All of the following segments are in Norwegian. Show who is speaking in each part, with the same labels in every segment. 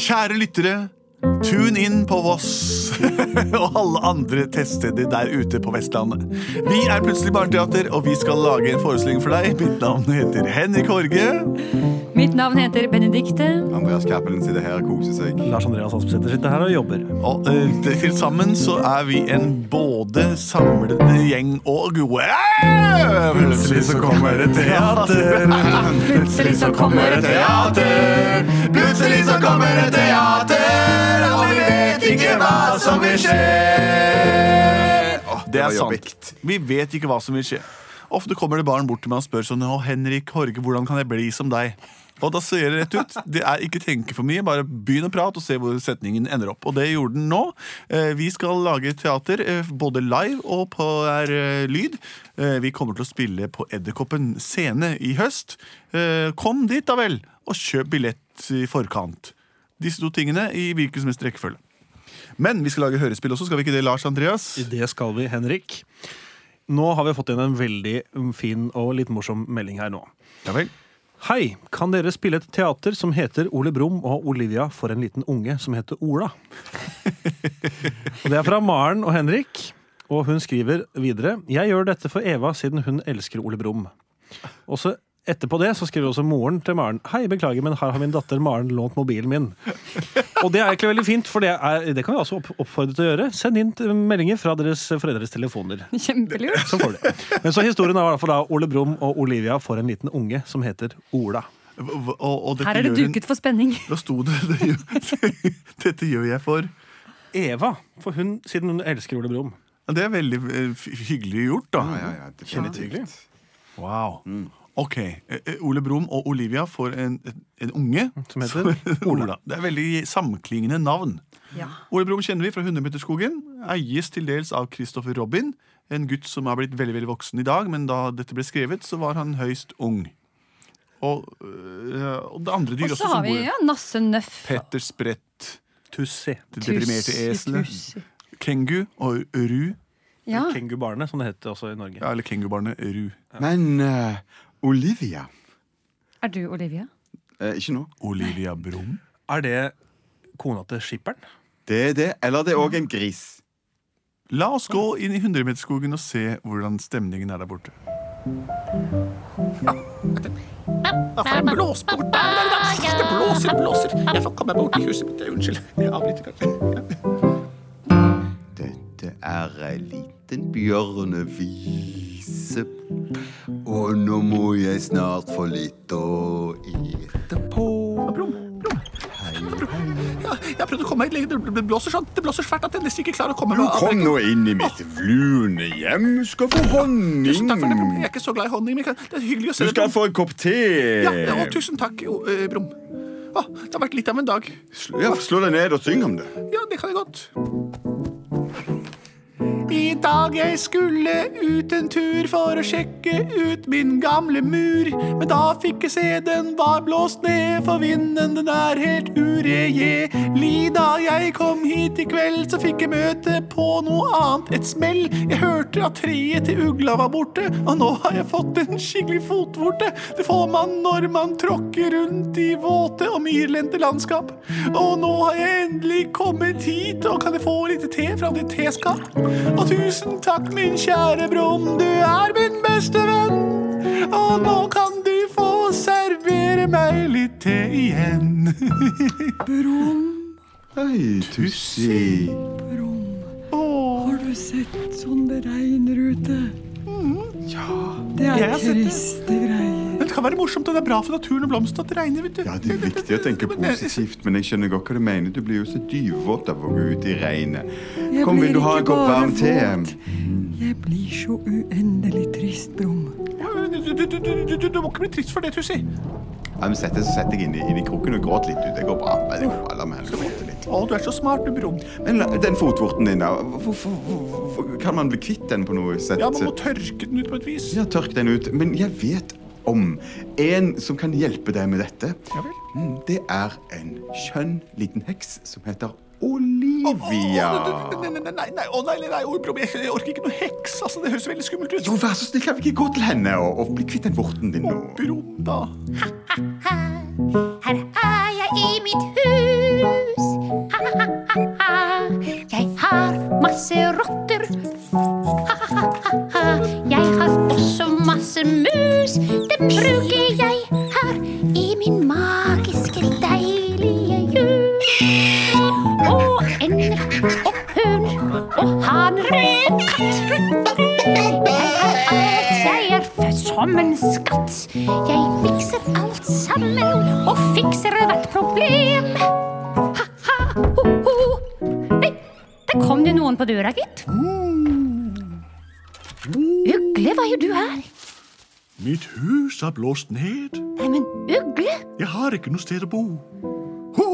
Speaker 1: Kjære lyttere, tune inn på Voss og alle andre teststeder der ute på Vestlandet. Vi er Plutselig barneteater, og vi skal lage en forestilling for deg. Mitt navn heter Henrik Horge.
Speaker 2: Mitt navn heter Benedikte.
Speaker 3: Andreas Cappelen sitter her og koser seg.
Speaker 4: Lars Andreas Aspesæter sitter her og jobber.
Speaker 1: Og eh, til sammen så er vi en både samlende gjeng og gode
Speaker 3: Plutselig så kommer det teater.
Speaker 2: Plutselig så kommer et
Speaker 3: teater. Plutselig så kommer det teater, og vi vet ikke hva som vil skje.
Speaker 1: Det er
Speaker 3: var
Speaker 1: sant.
Speaker 3: jobbigt.
Speaker 1: Vi vet ikke hva som vil skje. Ofte kommer det barn bort til meg og spør sånn Å, Henrik Horge, hvordan kan jeg bli som deg? Og da ser jeg rett ut. Det er ikke tenke for mye. Bare begynn å prate og se hvor setningen ender opp. Og det gjorde den nå. Eh, Vi skal lage teater, eh, både live og på er, eh, lyd. Eh, Vi kommer til å spille på Edderkoppen scene i høst. Eh, Kom dit, da vel, og kjøp billett i forkant. Disse to tingene i hvilken som helst rekkefølge. Men vi skal lage hørespill også, skal vi ikke det, Lars Andreas?
Speaker 4: I det skal vi, Henrik. Nå har vi fått igjen en veldig fin og litt morsom melding her nå.
Speaker 1: Ja vel.
Speaker 4: Hei, kan dere spille et teater som heter Ole Brumm og Olivia for en liten unge som heter Ola? Og det er fra Maren og Henrik, og hun skriver videre Jeg gjør dette for Eva siden hun elsker Ole Brumm. Og så etterpå det så skriver også moren til Maren Hei, beklager, men her har min datter Maren lånt mobilen min. Og det er egentlig veldig fint, for det, er, det kan vi også opp, oppfordre til å gjøre. Send inn t- meldinger fra deres foreldres telefoner.
Speaker 2: Kjempelurt.
Speaker 4: Så får du det. Men så historien er i hvert fall da Ole Brumm og Olivia får en liten unge som heter Ola.
Speaker 1: Hva- hva- Og, og dette
Speaker 2: Her er det
Speaker 1: gjør hun-
Speaker 2: duket for spenning.
Speaker 1: Da sto det, det gjør, Dette gjør jeg for ja,
Speaker 4: Eva, for hun, siden hun elsker Ole Brumm.
Speaker 1: Det er veldig eh, f- hyggelig gjort, da.
Speaker 3: Ja, ja, ja, definitivt.
Speaker 1: Wow.
Speaker 3: Mm.
Speaker 1: Ok. eh, eh, Ole Brumm og Olivia får en, en unge
Speaker 4: Som heter
Speaker 1: Ola. Det er veldig sammenklingende navn.
Speaker 2: Ja.
Speaker 1: Ole Brumm kjenner vi fra Hundemeterskogen. Eies til dels av Christopher Robin, en gutt som er blitt veldig veldig voksen i dag, men da dette ble skrevet, så var han høyst ung. Og, øh, og det andre dyr
Speaker 2: Og
Speaker 1: også,
Speaker 2: så har
Speaker 1: som
Speaker 2: vi
Speaker 1: bor
Speaker 2: ja, Nasse Nøff.
Speaker 1: Petter Sprett,
Speaker 4: Tussi.
Speaker 1: det deprimerte
Speaker 2: Tussi,
Speaker 1: eselet,
Speaker 2: Tussi.
Speaker 1: kengu og ru.
Speaker 2: Ja.
Speaker 4: Kengubarnet, som det heter også i Norge.
Speaker 1: Ja, eller kengubarnet Ru.
Speaker 3: Men eh, Olivia
Speaker 2: Er du Olivia?
Speaker 3: eh, Ikke nå.
Speaker 1: Olivia Brum.
Speaker 4: Er det kona til skipperen?
Speaker 3: Det er det. Eller det er òg en gris.
Speaker 1: La oss gå inn i Hundremeterskogen og se hvordan stemningen er der borte.
Speaker 5: Faen, blås bort! Det blåser, blåser. Jeg får komme bort i huset mitt. Unnskyld. Jeg avbryter kanskje.
Speaker 3: Dette er ei liten bjørnevise. Og nå må jeg snart få litt å ete på.
Speaker 5: Ja, jeg prøvde å komme meg lenger. Det blåser sånn. Det blåser svært at jeg nesten ikke klarer å komme meg av.
Speaker 3: Kom nå inn i mitt fluende hjem. Du skal få honning.
Speaker 5: Tusen takk for det, Brum. Jeg er ikke så glad i honning. Men jeg kan- det er hyggelig å se
Speaker 3: Du skal
Speaker 5: Brum.
Speaker 3: få en kopp te.
Speaker 5: Ja, ja, og tusen takk, jo, eh, Brum. Å, det har vært litt av en dag.
Speaker 3: Sl- ja, slå deg ned og syng om det.
Speaker 5: Ja, det kan jeg godt. I dag jeg skulle ut en tur for å sjekke ut min gamle mur. Men da fikk jeg se den var blåst ned, for vinden den er helt uregjerlig. Da jeg kom hit i kveld, så fikk jeg møte på noe annet, et smell. Jeg hørte at treet til ugla var borte, og nå har jeg fått en skikkelig fotvorte. Det får man når man tråkker rundt i våte og myrlendte landskap. Og nå har jeg endelig kommet hit, og kan jeg få litt te fra ditt teskap? Og tusen takk, min kjære Brum, du er min beste venn. Og nå kan du få servere meg litt te igjen.
Speaker 3: Hei, Tussi.
Speaker 5: Åh,
Speaker 6: Har du sett sånn det regner ute? Ja. Det
Speaker 5: Jeg
Speaker 6: er
Speaker 5: har sett det.
Speaker 6: triste greier.
Speaker 5: men det kan være morsomt, og det er bra for naturen og blomster at det regner, vet du.
Speaker 3: Ja, Det er viktig å tenke positivt, men jeg skjønner godt hva du mener. Du blir jo så dyvvåt av å gå ut i regnet.
Speaker 6: Jeg
Speaker 3: Kom, vil
Speaker 6: blir
Speaker 3: du ha en
Speaker 6: ikke
Speaker 3: kopp
Speaker 6: bare
Speaker 3: varm te?
Speaker 6: våt. Jeg blir så uendelig trist, Brum.
Speaker 5: Du, du, du, du, du, du, du må ikke bli trist for det, Tussi.
Speaker 3: Ja, men sett deg, så setter jeg inn i, inn i kroken og gråter litt. du. Det går bra. Nei, det går bra. La meg heller gråte litt.
Speaker 5: Å, du er så smart, du, Brum.
Speaker 3: Men la- den fotvorten din, da. Hvorfor, hvorfor kan man bli kvitt den på noe sett?
Speaker 5: Ja, man må tørke den ut på et vis.
Speaker 3: Ja, tørk den ut. Men jeg vet om en som kan hjelpe deg med dette.
Speaker 5: Ja vel.
Speaker 3: Mm, Det er en skjønn liten heks som heter
Speaker 5: Å,
Speaker 3: Olivia.
Speaker 5: Nei, nei, nei, nei, nei, å, nei, nei, nei, å, Brum, jeg jeg orker ikke noe heks, altså, det høres veldig skummelt ut.
Speaker 3: Jo, vær så snill, kan vi ikke gå til henne og, og bli kvitt den vorten din nå?
Speaker 5: Brum, da.
Speaker 7: Her er jeg i mitt hus. mus. Ha-ha-ha-ha. Jeg har masse rotter. Ha-ha-ha-ha. Jeg har også masse mus. Dem bruker jeg her i min magiske, deilige jul. Og en og hund og haner og katt. Jeg har alt. Jeg er født som en skatt. Jeg mikser alt sammen og fikser hvert problem. Ha-ha, ho-ho. Nei, der kom det noen på døra, gitt.
Speaker 1: Mm.
Speaker 7: Ugle var jo du her.
Speaker 1: Mitt hus er blåst ned.
Speaker 7: Nei, men ugle?
Speaker 1: Jeg har ikke noe sted å bo. Ho!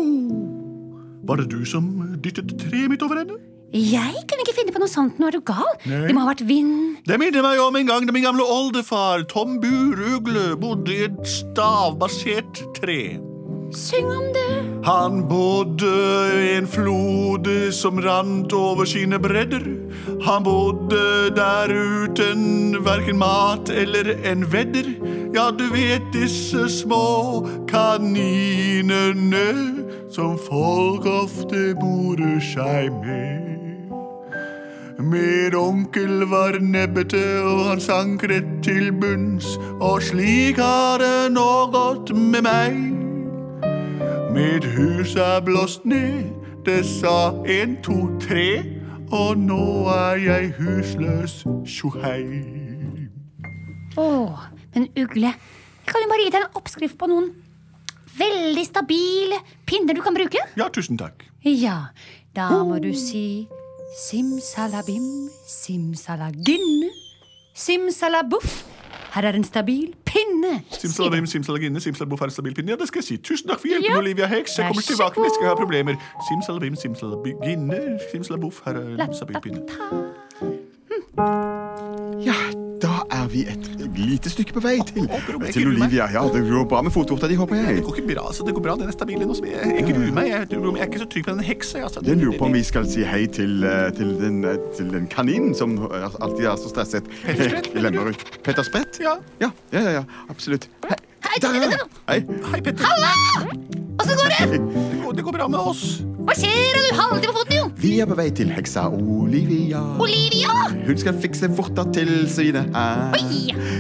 Speaker 1: Var det du som dyttet treet mitt over ende?
Speaker 7: Jeg kunne ikke finne på noe sånt. Nå er du gal. Det må ha vært vind.
Speaker 1: Det minner meg om en gang da min gamle oldefar Tom Burugle bodde i et stavbasert tre.
Speaker 7: Syng om det.
Speaker 1: Han bodde i en flode som rant over sine bredder. Han bodde der uten verken mat eller en vedder. Ja, du vet disse små kaninene som folk ofte morer seg med. Min onkel var nebbete, og han sank rett til bunns. Og slik har det nå gått med meg. Mitt hus er blåst ned, det sa en, to, tre. Og nå er jeg husløs, tjohei.
Speaker 7: Åh, men ugle. Jeg kan jo bare gi deg en oppskrift på noen veldig stabile pinner du kan bruke.
Speaker 1: Ja, tusen takk.
Speaker 2: Ja, da må du si simsalabim, simsalagin, simsalabuff. Her er en stabil pinne.
Speaker 1: Simsalabim, simsalaginne, simsalaboff er en stabil pinne. Ja, det skal jeg si. Tusen takk for hjelpen,
Speaker 7: Ja.
Speaker 1: Olivia Heks. Jeg
Speaker 2: Vær
Speaker 1: kommer
Speaker 2: så
Speaker 1: tilbake hvis jeg
Speaker 7: god.
Speaker 1: har problemer. Simsalabim, simsalaginne, simsalaboff, her er en stabil pinne.
Speaker 3: Ja, da er vi et lite stykke på vei til,
Speaker 1: Håper hun ikke
Speaker 3: til
Speaker 1: gruer meg.
Speaker 3: Olivia. Ja, Det går bra med fotvorta di, håper jeg.
Speaker 1: Det går ikke bra, altså. Det går bra. Den er stabil. Den er også- Jeg, jeg gruer meg. Jeg, jeg er ikke så trygg på den heksa. Altså.
Speaker 3: Jeg lurer på om vi skal si hei til, eh, til, den, eh, til den kaninen som eh, alltid er så stresset.
Speaker 1: Sprett,
Speaker 3: Eh, Lemmer ut. Petter Sprett?
Speaker 1: Ja.
Speaker 3: Ja, ja, ja, ja absolutt. Hei.
Speaker 7: Hei,
Speaker 3: Der er han. Hei.
Speaker 1: Hei, Petter.
Speaker 7: Åssen går det?
Speaker 1: Det går, det går bra med oss.
Speaker 7: Hva skjer? Du halter på foten, jo.
Speaker 3: Vi er på vei til heksa Olivia.
Speaker 7: Olivia!
Speaker 3: Hun skal fikse vorta til sine her.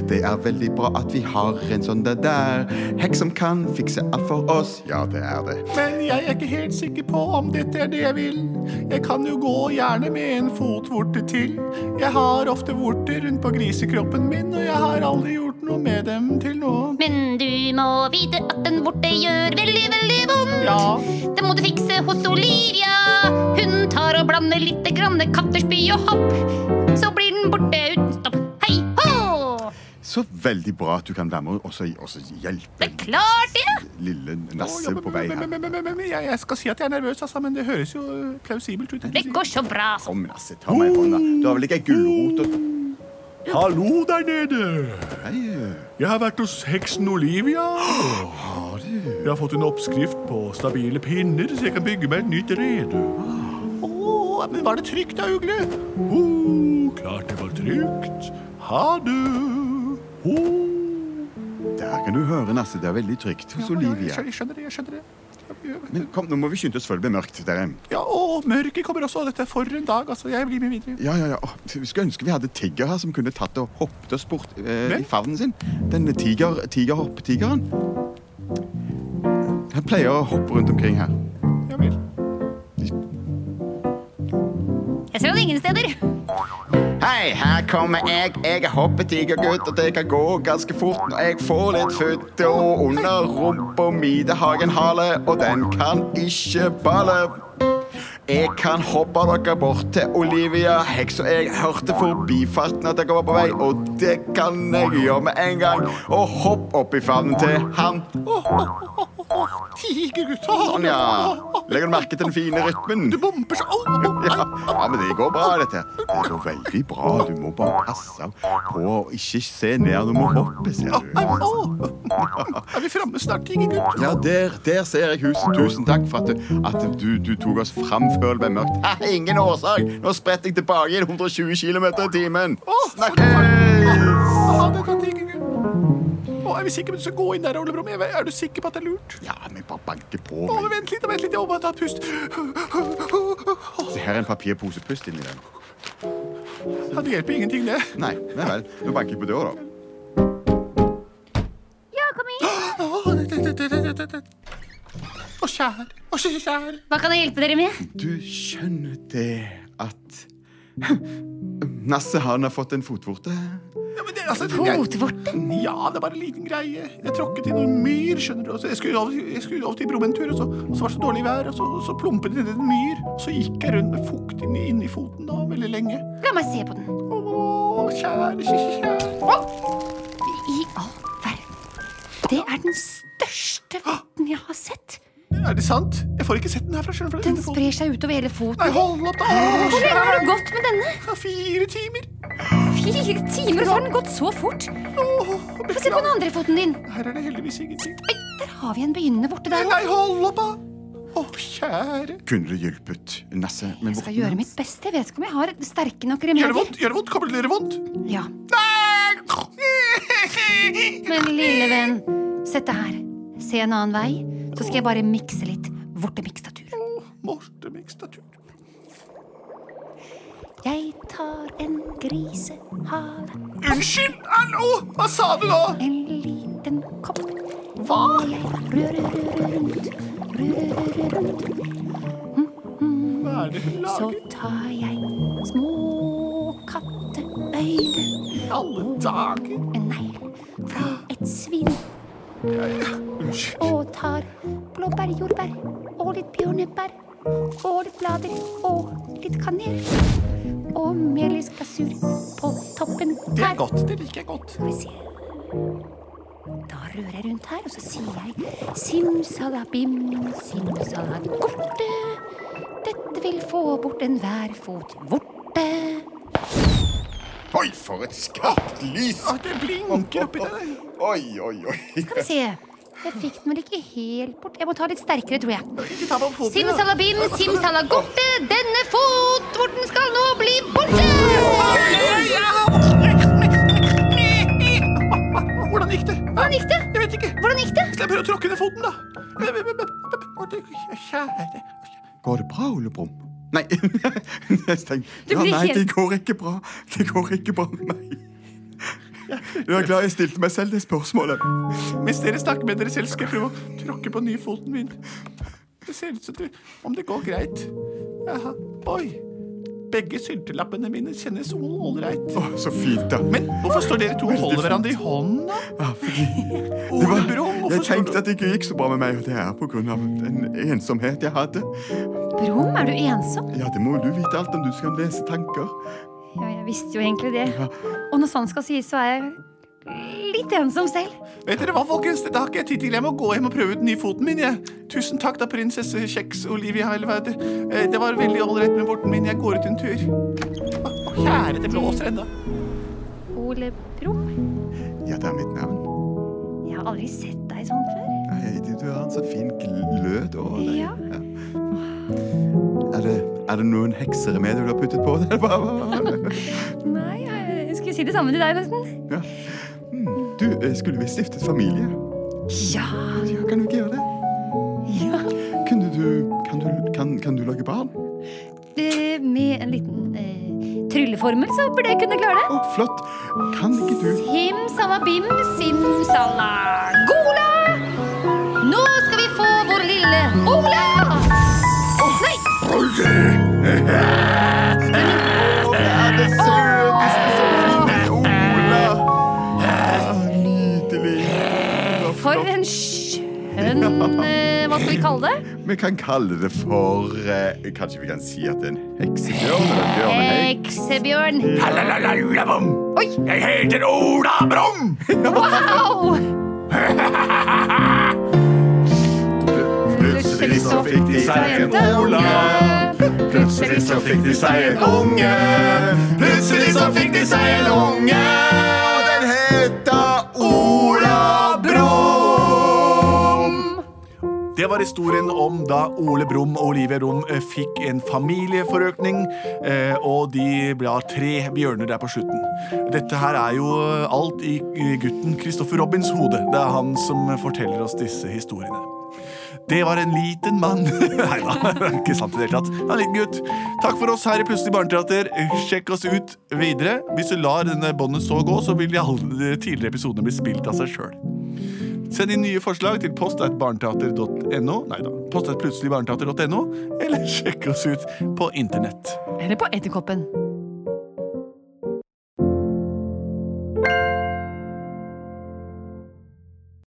Speaker 3: Det er veldig bra at vi har en sånn det der. Heks som kan fikse alt for oss. Ja, det er det.
Speaker 1: Men jeg er ikke helt sikker på om dette er det jeg vil. Jeg kan jo gå gjerne med en fotvorte til. Jeg har ofte vorter rundt på grisekroppen min, og jeg har aldri gjort noe med dem til nå.
Speaker 7: Men du må vite at en vorte gjør veldig, veldig vondt.
Speaker 1: Ja.
Speaker 7: Det må du fikse hos Olivia. Hun tar og blander litt grann kattespy og hopp. Så blir den borte uten stopp. Hei hå!
Speaker 3: Så veldig bra at du kan være med og også, også hjelpe
Speaker 7: Det er klart, det.
Speaker 3: lille
Speaker 1: Å,
Speaker 3: Nasse
Speaker 1: ja, men-
Speaker 3: på vei
Speaker 1: men-
Speaker 3: her.
Speaker 1: men- men- men- men- men- Jeg jeg skal si at jeg er nervøs, altså, men det høres jo eh, plausibelt ut.
Speaker 7: Det går så bra. så.
Speaker 3: Kom, Nasse, ta meg i hånda. Du har vel ikke ei gulrot og
Speaker 1: Hallo der nede!
Speaker 3: Nei, eh,
Speaker 1: Jeg har vært hos heksen Olivia. Jeg har fått en oppskrift på stabile pinner, så jeg kan bygge meg et nytt rede. Åh, men var det trygt da, ugle? Åh, klart det var trygt. Ha det. Åh.
Speaker 3: Der kan du høre, Nasse. Det er veldig trygt hos
Speaker 1: Ja,
Speaker 3: Olivia.
Speaker 1: jeg skjønner- jeg skjønner det, jeg skjønner det.
Speaker 3: Men kom, nå må vi skynde oss før det blir mørkt. Dere.
Speaker 1: Ja, og mørket kommer også, og dette er for en dag, altså. Jeg blir med videre.
Speaker 3: Ja, ja, ja. Åh, Vi skulle ønske vi hadde tigger her som kunne tatt og hoppet oss bort eh,
Speaker 1: Hvem?
Speaker 3: i favnen sin. Den tiger, tigerhopp-tigeren. Han pleier å hoppe rundt omkring her.
Speaker 1: Ja vel.
Speaker 7: Jeg ser han ingen steder.
Speaker 3: Hei, her kommer jeg. Jeg er hoppetigergutt, og det kan gå ganske fort når jeg får litt futt. Og under rumpa mi det har jeg en hale, og den kan ikke balle. Jeg kan hoppe dere bort til Olivia Heks, og jeg hørte forbifarten at dere var på vei, og det kan jeg gjøre med en gang. Og hopp opp i favnen til han.
Speaker 1: Tigergutt.
Speaker 3: Sånn, ja. Legger du merke til den fine rytmen?
Speaker 1: Du bomper så. Åh, åh,
Speaker 3: Ja, ja, men det går bra, dette. Det går veldig bra. Du må bare passe på å ikke se ned. Du må hoppe, ser
Speaker 1: Au,
Speaker 3: du.
Speaker 1: au. Er vi framme snart, tigergutt?
Speaker 3: Ja, der, der ser jeg huset. Tusen takk for at du, at du, du tok oss fram før det ble mørkt. Ha, ingen årsak! Nå spretter jeg tilbake i 120 km i timen.
Speaker 1: Å, så
Speaker 3: Snakkes!
Speaker 1: Ha det, da, tigergutt. Å, er vi sikre på at du skal gå inn der, Ole Brumm? Jeg vet- Er du sikker på at det er lurt?
Speaker 3: Ja, men bare banke på.
Speaker 1: Å, men
Speaker 3: Men.
Speaker 1: vent litt, vent litt, jeg må bare ta et pust.
Speaker 3: Se, her er en papirposepust inni den.
Speaker 1: Ja, det hjelper ingenting, det.
Speaker 3: Nei, nei vel. Nå banker jeg på døra, da.
Speaker 7: Ja, kom inn.
Speaker 1: Å, kjære. Å, kjære.
Speaker 7: Hva kan jeg hjelpe dere med?
Speaker 3: Du skjønner det at Nasse han har fått en fotvorte.
Speaker 1: Ja, men det, altså, jeg,
Speaker 2: Fotvorte?
Speaker 1: ja, det er bare en liten greie. Jeg tråkket i noen myr. skjønner du altså, Jeg skulle over, jeg skulle over til Brum en tur, og så, og så var det så dårlig vær, og så, og så plumpet jeg ned i en myr. Og så gikk jeg rundt med fukt inni inn i foten da, veldig lenge.
Speaker 7: La meg se på den.
Speaker 1: Å, kjære, kjære.
Speaker 7: I all verden. Det er den største
Speaker 1: Ah!
Speaker 7: votten jeg har sett.
Speaker 1: Er det sant? Jeg får ikke sett den herfra. skjønner du, for
Speaker 7: Den
Speaker 1: denne foten-
Speaker 7: sprer seg utover hele foten.
Speaker 1: Nei, hold opp, da. Å,
Speaker 7: Hvor lenge har
Speaker 1: kjære.
Speaker 7: du gått med denne?
Speaker 1: Fire timer.
Speaker 7: Fire timer, og så har den gått så fort.
Speaker 1: Å,
Speaker 7: Få se på den
Speaker 1: beklager.
Speaker 7: andre foten din.
Speaker 1: Her er det heldigvis ingenting.
Speaker 7: Oi, der har vi en begynnende vorte der òg.
Speaker 1: Nei, hold opp, da. Å, kjære.
Speaker 3: Kunne du hjulpet Nasse med
Speaker 7: Jeg skal gjøre mitt beste. Jeg vet ikke om jeg har sterke nok
Speaker 1: Gjør det
Speaker 7: remedier.
Speaker 1: vondt? Gjør det vondt? Kommer det til å gjøre vondt?
Speaker 7: Ja. Men lille venn, sett det her. Se en annen vei, så skal jeg bare mikse litt vortemikstatur.
Speaker 1: Mortemikstatur.
Speaker 7: Jeg tar en grisehale,
Speaker 1: Unnskyld! Hallo! Hva sa du nå?
Speaker 7: en liten kopp. Hva? Jeg rører rundt, rører rundt.
Speaker 1: Hva er det hun
Speaker 7: Så
Speaker 1: lager?
Speaker 7: tar jeg små katteøyne,
Speaker 1: I alle dager?
Speaker 7: en negl fra et svin,
Speaker 1: Unnskyld.
Speaker 7: og tar blåbær, jordbær og litt bjørnebær og litt blader og litt kanel. Og meliskasur på toppen her.
Speaker 1: Det er godt. Det liker jeg godt.
Speaker 7: Skal vi se. Da rører jeg rundt her, og så sier jeg simsalabim, simsalagorte. Dette vil få bort enhver fotvorte.
Speaker 3: Oi, for et skarpt lys!
Speaker 1: At det blinker oppi der.
Speaker 3: Oi, oi, oi.
Speaker 7: Skal vi se. Jeg fikk den vel ikke helt bort. Jeg må ta litt sterkere, tror jeg.
Speaker 1: Ikke ta meg på foten. ja.
Speaker 7: Simsalabim, simsalagorte. Denne fotvorten skal nå bli borte!
Speaker 1: Hvordan gikk det?
Speaker 7: Hvordan gikk det?
Speaker 1: Jeg vet ikke.
Speaker 7: Hvordan gikk det?
Speaker 1: Skal jeg prøve å tråkke ned foten, da? Å, det- Kjære
Speaker 3: Går det bra, Ole Brumm? Nei, Stein.
Speaker 7: Du
Speaker 3: Ja,
Speaker 7: blir
Speaker 3: nei,
Speaker 7: helt-
Speaker 3: det går ikke bra. Det går ikke bra med meg. Jeg er glad jeg stilte meg selv det spørsmålet.
Speaker 1: Mens dere snakker med dere selv, skal jeg prøve å tråkke på den nye foten min. Det ser ut som det, om det går greit. Jaha. Oi. Begge syltelappene mine kjennes ålreit.
Speaker 3: Å, så fint, da.
Speaker 1: Men hvorfor står dere to og holder hverandre i hånden, da?
Speaker 3: Ja, fordi det
Speaker 1: Ole
Speaker 3: var,
Speaker 1: Brumm, hvorfor
Speaker 3: jeg
Speaker 1: står
Speaker 3: tenkte
Speaker 1: du-
Speaker 3: at det ikke gikk så bra med meg, og det er på grunn av den ensomhet jeg hadde.
Speaker 7: Brom, er du ensom?
Speaker 3: Ja, det må jo du vite alt om du skal lese tanker.
Speaker 7: Ja, jeg visste jo egentlig det. Og når sant skal sies, så er jeg litt ensom selv.
Speaker 1: Vet dere hva, folkens? Dette har ikke jeg tid til. Jeg må gå hjem og prøve ut den nye foten min. Jeg. Tusen takk, da, prinsesse Kjeks Olivia Helvete. Eh, Det var veldig ålreit med vorten min. Jeg går ut en tur. Å, Kjære, det blåser ennå.
Speaker 7: Ole Brumm.
Speaker 3: Ja, det er mitt navn.
Speaker 7: Jeg har aldri sett deg sånn før.
Speaker 3: Nei, du, du har en så fin glød over deg.
Speaker 7: Ja.
Speaker 3: Er, det, er det noen hekseremedier du har puttet på? det, eller hva- hva- hva?
Speaker 7: Nei, jeg skulle si det samme til deg, nesten.
Speaker 3: Ja. Mm, Du, eh, skulle vi stiftet familie?
Speaker 7: Ja.
Speaker 3: Ja, kan du ikke gjøre det?
Speaker 7: ja.
Speaker 3: Kunne du, kan, du, kan, kan du lage barn?
Speaker 7: Eh, Med en liten eh, trylleformel så burde jeg kunne klare
Speaker 3: Å,
Speaker 7: det.
Speaker 3: flott! Kan ikke du
Speaker 7: Simsalabim, simsalagola. Nå skal vi få vår lille Ola! Nei!
Speaker 3: Å, det er det søteste som finnes! Ola! Ja, Nydelig. Ja,
Speaker 7: For
Speaker 3: flott.
Speaker 7: en skjønn eh, Hva skal vi kalle det?
Speaker 3: Vi kan kalle det for eh, Kanskje vi kan si at det er en heksebjørn? Eller en bjørneheks?
Speaker 7: Heksebjørn. Oi!
Speaker 5: Jeg heter Ola Brumm!
Speaker 7: Wow!
Speaker 3: Plutselig så fikk de seg en Ola. Plutselig så fikk de seg en unge. Plutselig så fikk de seg en unge. Og den het da Ola Brå.
Speaker 1: Det Det var historien om da Ole Brumm og Olivia Rom eh, fikk en familieforøkning, eh, og de ble tre bjørner der på slutten. Dette her er jo eh, alt i i gutten Kristoffer Robins hode. Det er han som forteller oss disse historiene. Det var en liten mann. Nei da, det er ikke sant i det hele tatt. Han er en liten gutt. Takk for oss her i Plutselig barneteater. Sjekk oss ut videre. Hvis du lar denne båndet så gå, så vil de alle de tidligere episodene bli spilt av seg sjøl. Send inn nye forslag til post.barneteater.no. Nei da, post.plutseligbarneteater.no, eller sjekk oss ut på internett.
Speaker 8: Eller på Edderkoppen.